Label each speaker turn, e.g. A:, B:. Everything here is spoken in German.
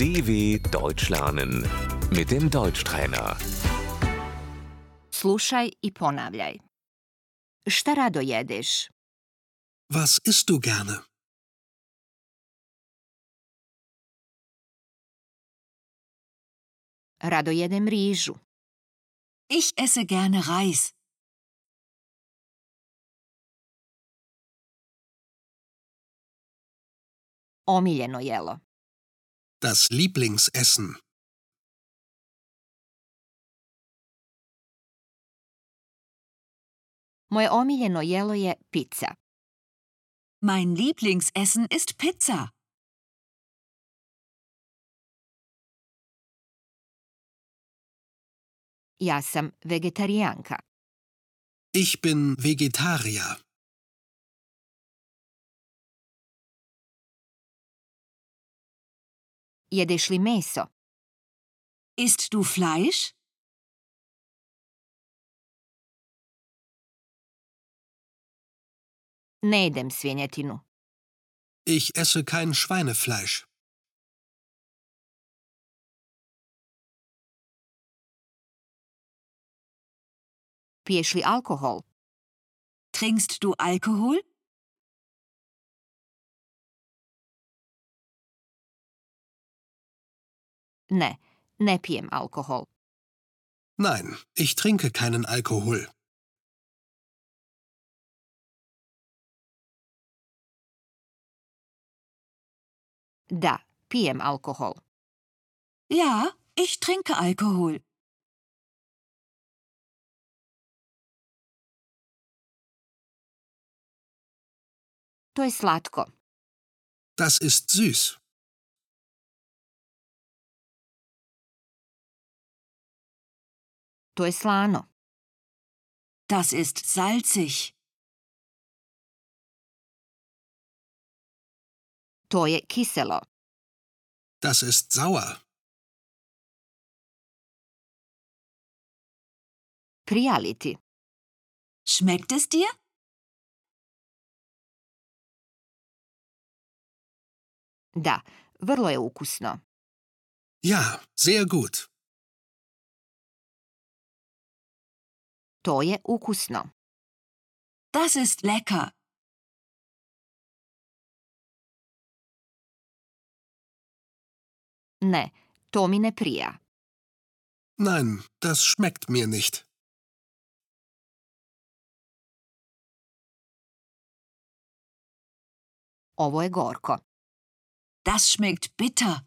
A: DW Deutsch lernen mit dem Deutschtrainer.
B: Slušaj i ponavljaj. Šta rado jedeš?
C: Was isst du gerne?
B: Rado jedem rižu. Ich esse gerne Reis. Omiljeno jelo.
C: Das Lieblingsessen.
B: Moje omiljeno jelo je pizza. Mein Lieblingsessen ist Pizza. Ja sam vegetarijanka.
C: Ich bin Vegetarier.
B: Jedeš li meso? Ist du Fleisch? Ne jedem svinjetinu.
C: Ich esse kein Schweinefleisch.
B: Piješ li alkohol? Trinkst du Alkohol? Ne, ne pijem alkohol.
C: Nein, ich trinke keinen Alkohol.
B: Da, pijem alkohol. Ja, ich trinke Alkohol. To je slatko.
C: Das ist süß.
B: To je slano. Das ist salzig. To je kiselo.
C: Das ist sauer.
B: Prijaliti. Schmeckt es dir? Da, vrlo je ukusno.
C: Ja, sehr gut.
B: To je ukusno. Das ist lecker. Ne, to mi ne prija.
C: Nein, das schmeckt mir nicht.
B: Ovo je gorko. Das schmeckt bitter.